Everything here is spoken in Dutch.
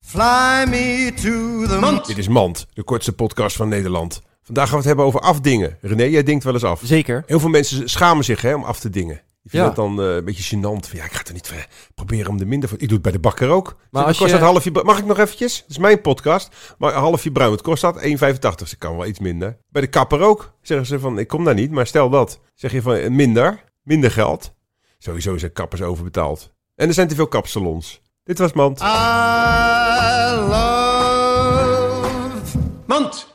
Fly me to the moon. Dit is Mand, de kortste podcast van Nederland. Vandaag gaan we het hebben over afdingen. René, jij dingt wel eens af. Zeker. Heel veel mensen schamen zich hè, om af te dingen. Ik vind Ja. dat dan eh, een beetje gênant. Van, Ja, ik ga het er niet van- proberen om er minder voor... Ik doe het bij de bakker ook. Maar als kost je- dat halfje... bru- Mag ik nog eventjes? Het is mijn podcast. Maar een halfje bruin, wat kost dat? 1,85. Ze kan wel iets minder. Bij de kapper ook. Zeggen ze van, ik kom daar niet, maar stel dat. Zeg je van, eh, minder. Minder geld. Sowieso zijn kappers overbetaald. En er zijn te veel kapsalons. Dit was Mand. I love Mont.